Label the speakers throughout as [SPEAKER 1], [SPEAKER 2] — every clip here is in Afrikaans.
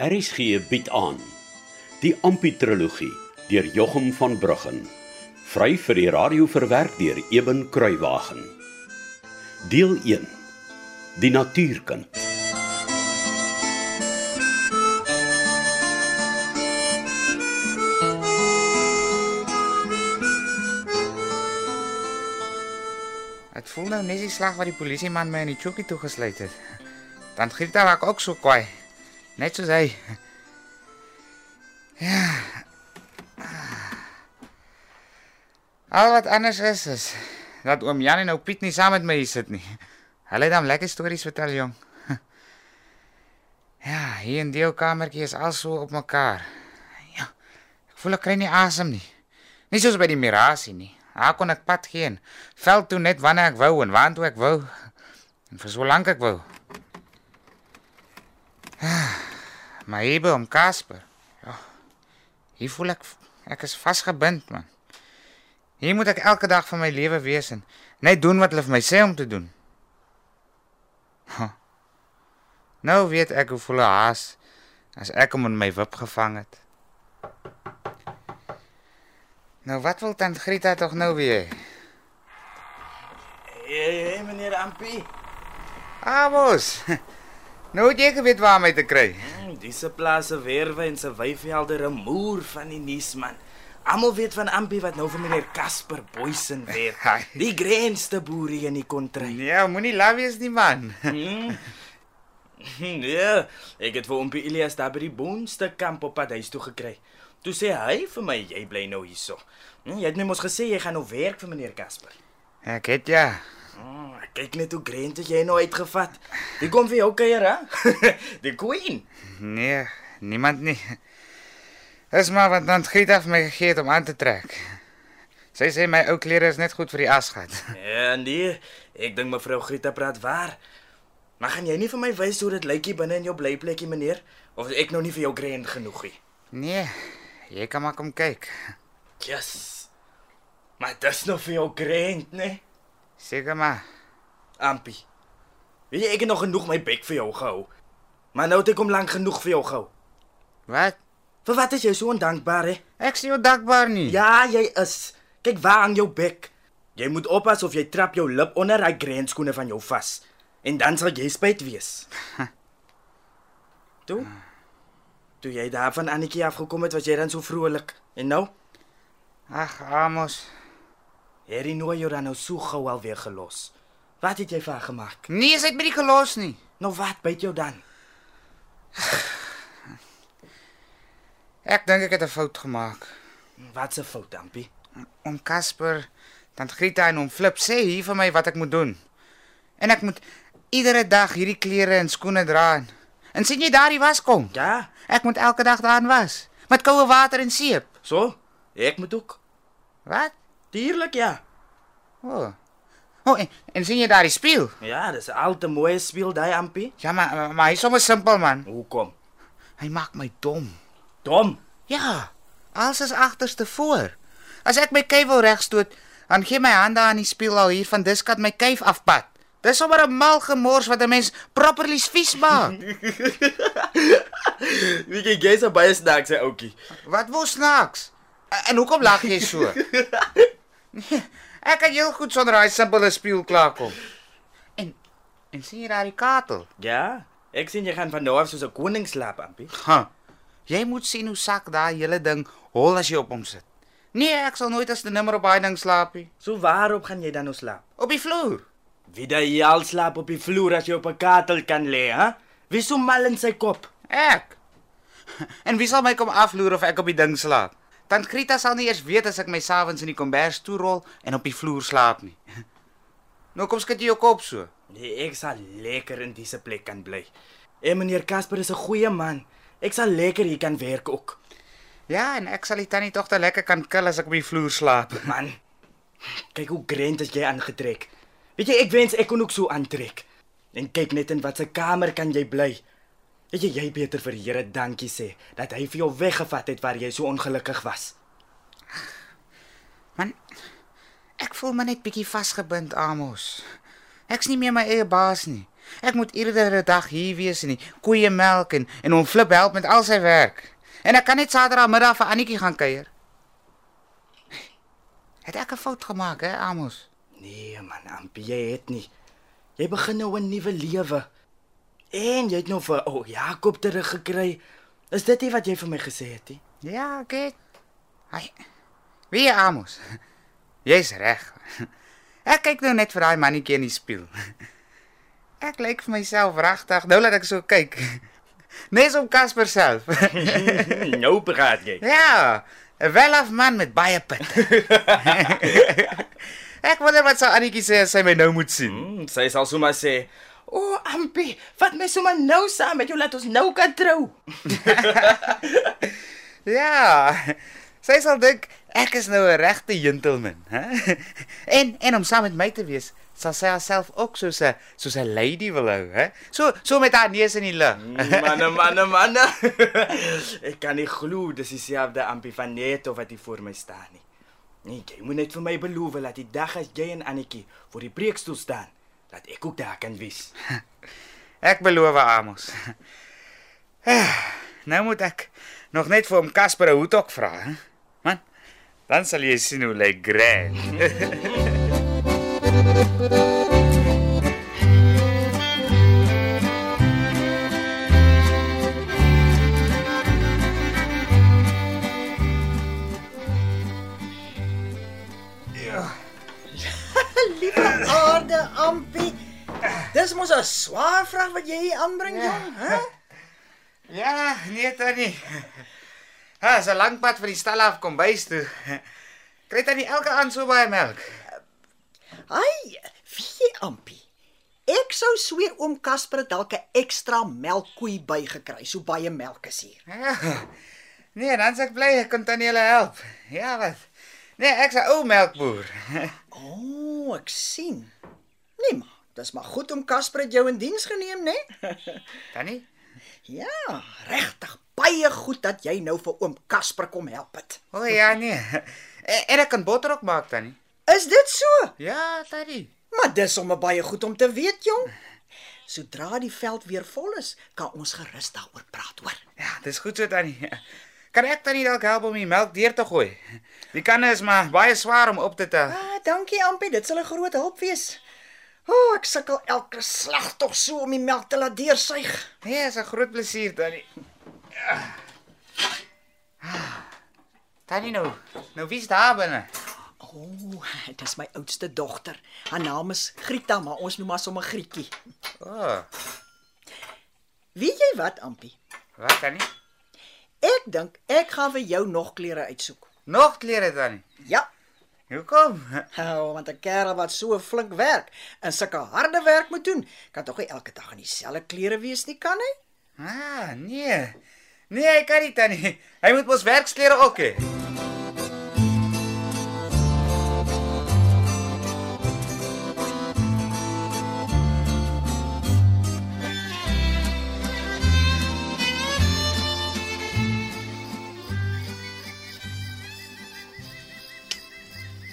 [SPEAKER 1] RSG bied aan die Amputrologie deur Jochum van Bruggen vry vir die radio verwerk deur Eben Kruiwagen deel 1 die natuurkind
[SPEAKER 2] Ek voel nou net die slag wat die polisieman my in die chokkie toegesluit het. Dan Grieta raak ook so kwaai. Net soos hy. Ja. Al wat anders is is dat oom Jan en ou Piet nie saam met my hier sit nie. Hulle het dan lekker stories vertel, jong. Ja, hier in die ou kamertjie is al so op mekaar. Ja. Ek voel ek kry nie asem nie. Nie soos by die mirasie nie. Haar kon ek pad geen. Veld toe net wanneer ek wou en waantoe ek wou. En vir so lank ek wou. Ah, Maar hier by hom Casper. Ja. Hier voel ek ek is vasgebind man. Hier moet ek elke dag van my lewe wees en net doen wat hulle vir my sê om te doen. Huh. Nou weet ek hoe voel 'n haas as ek hom in my wip gevang het. Nou wat wil tant Grieta tog nou weer?
[SPEAKER 3] Hey, hey meneer Ampi.
[SPEAKER 2] Amos. Nou het jy geweet waar my te kry.
[SPEAKER 3] Hmm, Disse plase werwe en se weivelde remoer van die nuus man. Almal weet van Ampi wat nou vir meneer Casper Boysen werk.
[SPEAKER 2] Hi.
[SPEAKER 3] Die grootste boer hier in die kontry.
[SPEAKER 2] Ja, moenie laf wees nie man.
[SPEAKER 3] Hmm. Nee, ek het vir Ampi Elias daar by die boonste kamp op pad huis toe gekry. Toe sê hy vir my jy bly nou hierso. Hmm, jy het my mos gesê jy gaan nou werk vir meneer Casper.
[SPEAKER 2] Ek het ja.
[SPEAKER 3] Hmm, ek kyk net hoe grand het jy nou uitgevat. Die kom vir jou kuier, hè? die queen.
[SPEAKER 2] Nee, niemand nie. Dis maar wat dan Grieta vir my gegee het om aan te trek. Sy sê my ou klere is net goed vir die asgat.
[SPEAKER 3] Ja, nee, ek dink mevrou Grieta praat waar. Maar gaan jy nie vir my wys hoe dit lyk hier binne in jou blyplekkie, meneer? Of is ek nou nie vir jou grand genoeg nie?
[SPEAKER 2] Nee, jy kan maar kom kyk.
[SPEAKER 3] Yes. Maar dis nou vir jou grand, né? Nee?
[SPEAKER 2] Seker maar.
[SPEAKER 3] Ampi. Weet jy ek het nog genoeg my bek vir jou gehou. Maar nou het ek hom lank genoeg vir jou gehou.
[SPEAKER 2] Wat?
[SPEAKER 3] Vir wat is jy so ondankbaar, hè?
[SPEAKER 2] Ek sien jou dankbaar nie.
[SPEAKER 3] Ja, jy is. Kyk waar aan jou bek. Jy moet oppas of jy trap jou lip onder daai grand skoene van jou vas en dan sal jy spyt wees. Toe? Toe jy daar van Annetjie afgekom het, was jy dan so vrolik. En nou?
[SPEAKER 2] Ag, Amos.
[SPEAKER 3] Hierdie nooi jou dan nou so gou al weer gelos. Wat het jy vir haar gemaak?
[SPEAKER 2] Nee, sy het my nie gelos nie.
[SPEAKER 3] Nou wat byt jou dan?
[SPEAKER 2] Ek dink ek het 'n fout gemaak.
[SPEAKER 3] Wat 'n fout, Ampie.
[SPEAKER 2] Om Casper, tant Grieta en om Flip sê hier vir my wat ek moet doen. En ek moet iedere dag hierdie klere en skoene dra. en- En sien jy daardie waskom?
[SPEAKER 3] Ja,
[SPEAKER 2] Ek moet elke dag daarin was met koue water en seep.
[SPEAKER 3] so. Ek moet ook.
[SPEAKER 2] Wat?
[SPEAKER 3] Tuurlik ja.
[SPEAKER 2] O. Oh. O, oh, en, en sien jy daardie spieël?
[SPEAKER 3] Ja, dis 'n al te mooi speel daai Ampie.
[SPEAKER 2] Ja, maar maar- maar hy's sommer simpel man.
[SPEAKER 3] Hoekom?
[SPEAKER 2] Hy maak my dom.
[SPEAKER 3] Dom.
[SPEAKER 2] Ja. Alles is agterste voor. As ek my kuif wil regstoot, dan gee my hande aan die spieël al hier van diskat my kuif afpad. Dis sommer 'n mal gemors wat 'n mens properly vies maak.
[SPEAKER 3] Wie kyk jy's 'n baie snaakse ouetjie.
[SPEAKER 2] Wat wou snaaks? En, en hoekom lag jy so? nee, ek kan heel goed sonder daai simpele spieël klaarkom. En en sien jy daai katel?
[SPEAKER 3] Ja, ek sien jy gaan van nou af soos 'n koning slaap, Ampie.
[SPEAKER 2] Ha. Jy moet sien hoe sak daai hele ding hol as jy op hom sit. Nee, ek sal nooit as 'n nimmer op daai ding slaap nie.
[SPEAKER 3] So waarop gaan jy dan nou slaap?
[SPEAKER 2] Op die vloer.
[SPEAKER 3] Wie daai jy al slaap op die vloer as jy op 'n katel kan lê, hè? Wie so mal in sy kop?
[SPEAKER 2] Ek. En wie sal my kom afloer of ek op die ding slaap? Tant Grieta sal nie eers weet as ek my s'avonds in die kombers toerol en op die vloer slaap nie. Nou kom skud jy jou kop so.
[SPEAKER 3] Nee, ek sal lekker in dise plek kan bly. En meneer Casper is 'n goeie man. Ek sal lekker hier kan werk ook.
[SPEAKER 2] Ja, en ek sal die tannie tog te lekker kan kill as ek op die vloer slaap.
[SPEAKER 3] Man. Kyk hoe grand as jy aangetrek. Weet jy, ek wens ek kon ook so aantrek. En kyk net in watter kamer kan jy bly. Weet jy, jy beter vir die Here dankie sê dat hy vir jou weggevat het waar jy so ongelukkig was.
[SPEAKER 2] Man, ek voel my net bietjie vasgebind, Amos. Ek's nie meer my eie baas nie. Ek moet iedere dag hier wees en die koeie melk en en hom flip help met al sy werk. En ek kan net Saterdagmiddag vir Annetjie gaan kuier. Het ek 'n fout gemaak, hè, Amos?
[SPEAKER 3] Nee man, Ampie, jy het nie. Jy begin nou 'n nuwe lewe. En jy het nou vir ou oh, Jakob teruggekry. Is dit nie wat jy vir my gesê het nie?
[SPEAKER 2] Ja, kyk. Ai. Wie jy, Amos? Jy's reg. Ek kyk nou net vir daai mannetjie in die spieël. Ek lyk vir myself regtig nou laat ek so kyk. Nes om Casper self.
[SPEAKER 3] nou praat jy.
[SPEAKER 2] Ja, 'n welaf man met baie pit. ek wonder wat sou Annetjie sê as sy my nou moet sien.
[SPEAKER 3] Hmm, sy sal sommer sê, "O, oh, Ampie, vat my sommer nou saam met jou laat ons nou kan trou."
[SPEAKER 2] Ja. Sy sal dink ek is nou 'n regte gentleman, hè? En en om saam met my te wees, sal sy haarself ook soos 'n soos 'n lady wil hou, hè? So so met haar neus in die lug.
[SPEAKER 3] Mm. Manne, manne, manne. ek kan nie glo dis dieselfde Ampie van net of wat hier voor my staan nie. Nee, jy moet net vir my beloof dat die dag as jy en Annetjie voor die preekstoel staan, dat ek ook daar kan wees.
[SPEAKER 2] Ek beloof, Amos. Eh, Nou moet ek nog net vir hom Casper 'n hoetok vra, hè? Man, dan sal jy sien hoe lyk grand.
[SPEAKER 4] Liewe aarde, Ampie. Dis mos 'n swaar vraag wat jy hier aanbring,
[SPEAKER 2] Ja.
[SPEAKER 4] jong, hè?
[SPEAKER 2] Ja, nee tannie. Ha, so lank pad van die stal af kom bys toe. Kry tannie elke aand so baie melk.
[SPEAKER 4] Ai, weet jy, Ampie? Ek sou sweer oom Casper het dalk 'n ekstra melkkoei bygekry, so baie melk is hier.
[SPEAKER 2] Ja. Nee, dan sê ek bly ek kon tannie hulle help. Ja, wat? Nee, ek's 'n ou melkboer.
[SPEAKER 4] O, oh, ek sien. Nee maar, dis maar goed om Casper het jou in diens geneem, né?
[SPEAKER 2] Tannie?
[SPEAKER 4] Ja, regtig baie goed dat jy nou vir oom Casper kom help het.
[SPEAKER 2] O oh, ja, nee. E, En, en ek kan botter ook maak tannie.
[SPEAKER 4] Is dit so?
[SPEAKER 2] Ja, tannie.
[SPEAKER 4] Maar dis sommer baie goed om te weet, jong. Sodra die veld weer vol is, kan ons gerus daaroor praat, hoor.
[SPEAKER 2] Ja, dis goed so tannie. Kan ek tannie dalk help om die melk deur te gooi? Die kanne is maar baie swaar om op te tel.
[SPEAKER 4] Ah, dankie Ampie, dit sal 'n groot hulp wees. O, oh, ek sukkel elke slag tog so om die melk te laat deursuig.
[SPEAKER 2] Nee, is 'n groot plesier, Tannie. Tannie nou, nou wie's daar binne?
[SPEAKER 4] O, oh, dit is my oudste dogter. Haar naam is Grieta, maar ons noem haar sommer Grietjie.
[SPEAKER 2] O, oh,
[SPEAKER 4] Weet jy wat, Ampie?
[SPEAKER 2] wat Tannie?
[SPEAKER 4] Ek dink ek gaan vir jou nog klere uitsoek.
[SPEAKER 2] Nog klere Tannie.
[SPEAKER 4] Ja,
[SPEAKER 2] Hoekom?
[SPEAKER 4] oh, want 'n kerel wat so flink werk en sulke harde werk moet doen, kan tog nie elke dag in dieselfde klere wees nie, kan hy?
[SPEAKER 2] Ah, nee. Nee, hy kan nie Tannie. Hy moet mos werksklere ook hê.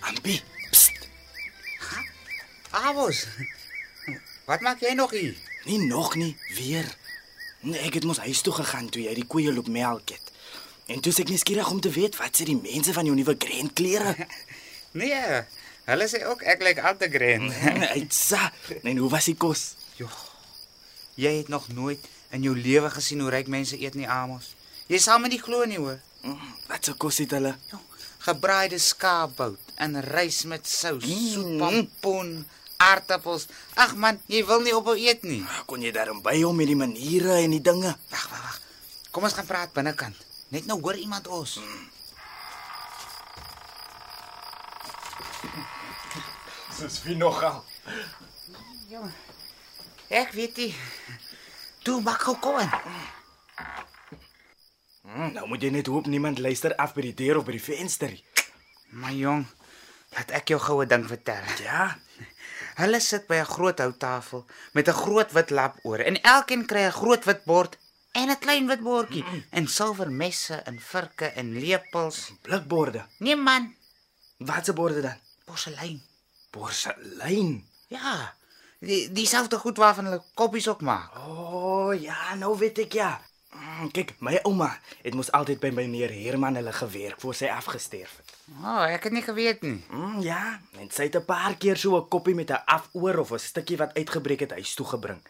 [SPEAKER 3] Ampie, pst,
[SPEAKER 2] Avos. Wat maak jy nog hier?
[SPEAKER 3] nie nog nie, weer. Nee, ek het mos huis toe gegaan toe jy die koeie loop melk het. En toe is ek nuuskierig om te weet wat sê die mense van jou nuwe grand klere.
[SPEAKER 2] Nee. Hulle sê ook ek lyk like al te grand.
[SPEAKER 3] Uitsa. En hoe was die kos?
[SPEAKER 2] Jo. Jy het nog nooit in jou lewe gesien hoe ryk mense eet nie, Amos. Jy sal my nie glo nie, hoor.
[SPEAKER 3] Mm, Wat se kos het hulle?
[SPEAKER 2] Jong, gebraaide skaapbout en rys met sous, mm. soet pompoen, aartappels. Ag man, jy wil nie ophou eet nie.
[SPEAKER 3] Kon jy daarin by hom met die maniere en die dinge?
[SPEAKER 2] Wag, wag, wag. Kom ons gaan praat binnekant. Net nou hoor iemand ons.
[SPEAKER 3] Soos wie nogal.
[SPEAKER 2] Ek weet nie. Toe maak gou kom in.
[SPEAKER 3] Mm, nou moet jy net hoop niemand luister af by die deur of by die venster.
[SPEAKER 2] Maar jong, laat ek jou goue ding vertel.
[SPEAKER 3] Ja.
[SPEAKER 2] Hulle sit by 'n groot houttafel met 'n groot wit lap oor en elkeen kry 'n groot wit bord en 'n klein wit bordjie en silwer messe en vurke en lepels.
[SPEAKER 3] Blikborde.
[SPEAKER 2] Nee man,
[SPEAKER 3] Wat se borde dan?
[SPEAKER 2] porselein.
[SPEAKER 3] Porselein.
[SPEAKER 2] Ja, Die dieselfde goed waarvan hulle koppies ook maak.
[SPEAKER 3] O, oh, ja, nou weet ek ja. Mm, Kyk, my ouma het mos altyd by meneer Herman hulle gewerk voor sy afgesterf het.
[SPEAKER 2] O, oh, ek het nie geweet nie.
[SPEAKER 3] Mm, ja, en sy het 'n paar keer so 'n koppie met 'n afoor of 'n stukkie wat uitgebreek het huis toe gebring.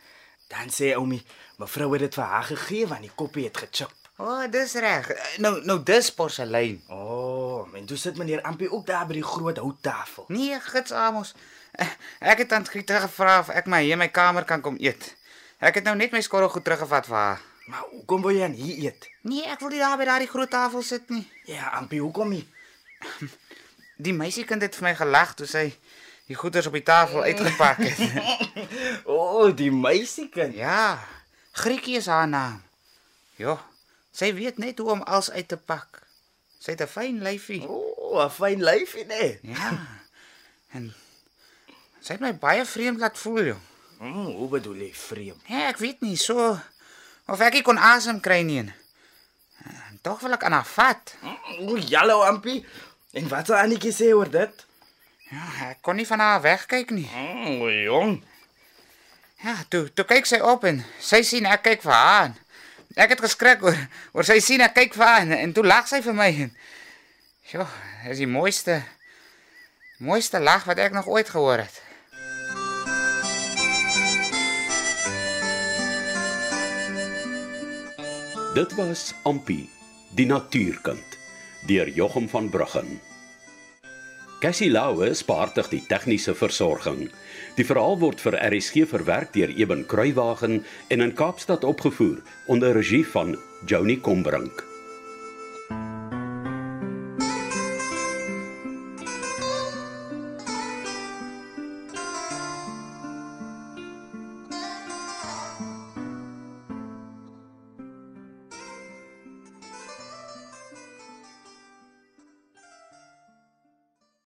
[SPEAKER 3] Dan sê oomie, mevrou het dit vir haar gegee want die koppie het gechip.
[SPEAKER 2] O, oh, dis reg. Nou nou dis porselein.
[SPEAKER 3] O, oh, en toe sit meneer Ampie ook daar by die groot houttafel.
[SPEAKER 2] Nee, gits Amos. Ek het aan Grieta gevra of ek my hier in my kamer kan kom eet. Ek het nou net my skorrel goed teruggevat vir haar.
[SPEAKER 3] Maar hoekom wil jy aan hier eet?
[SPEAKER 2] Nee, ek wil nie daar by daardie groot tafel sit nie.
[SPEAKER 3] Ja, Ampie, hoekom nie?
[SPEAKER 2] Die meisiekind het vir my gelag toe sy die goeders op die tafel uitgepak het.
[SPEAKER 3] O, oh, die meisiekind.
[SPEAKER 2] ja, Griekie is haar naam. Jo, sy weet net hoe om alles uit te pak. Sy het 'n fyn lyfie.
[SPEAKER 3] O, oh, 'n fyn lyfie, nee.
[SPEAKER 2] Ja. En sy het my baie vreemd laat voel, jong.
[SPEAKER 3] Mm, hoe bedoel jy vreemd?
[SPEAKER 2] Ja, ek weet nie so of ek nie kon asem kry nie. En Tog wil ek aan haar vat.
[SPEAKER 3] O, jallo Mm, Ampie. En wat sou Annetjie sê oor dit?
[SPEAKER 2] Ja, ek kon nie van haar wegkyk nie.
[SPEAKER 3] Mm, o, jong.
[SPEAKER 2] Ja, toe toe kyk sy op en sy sien ek kyk vir haar. en Ek het geskrik oor oor sy sien ek kyk vir haar en, en toe lag sy vir my. en- Sjoe, dis die mooiste mooiste lag wat ek nog ooit gehoor het.
[SPEAKER 1] Dit was Ampi, die natuurkind, deur Jochum van Bruggen. Cassie Lauwe spaartig die tegniese versorging. Die verhaal word vir RSG verwerk deur Eben Kruiwagen en in Kaapstad opgevoer onder regie van Joni Combrink.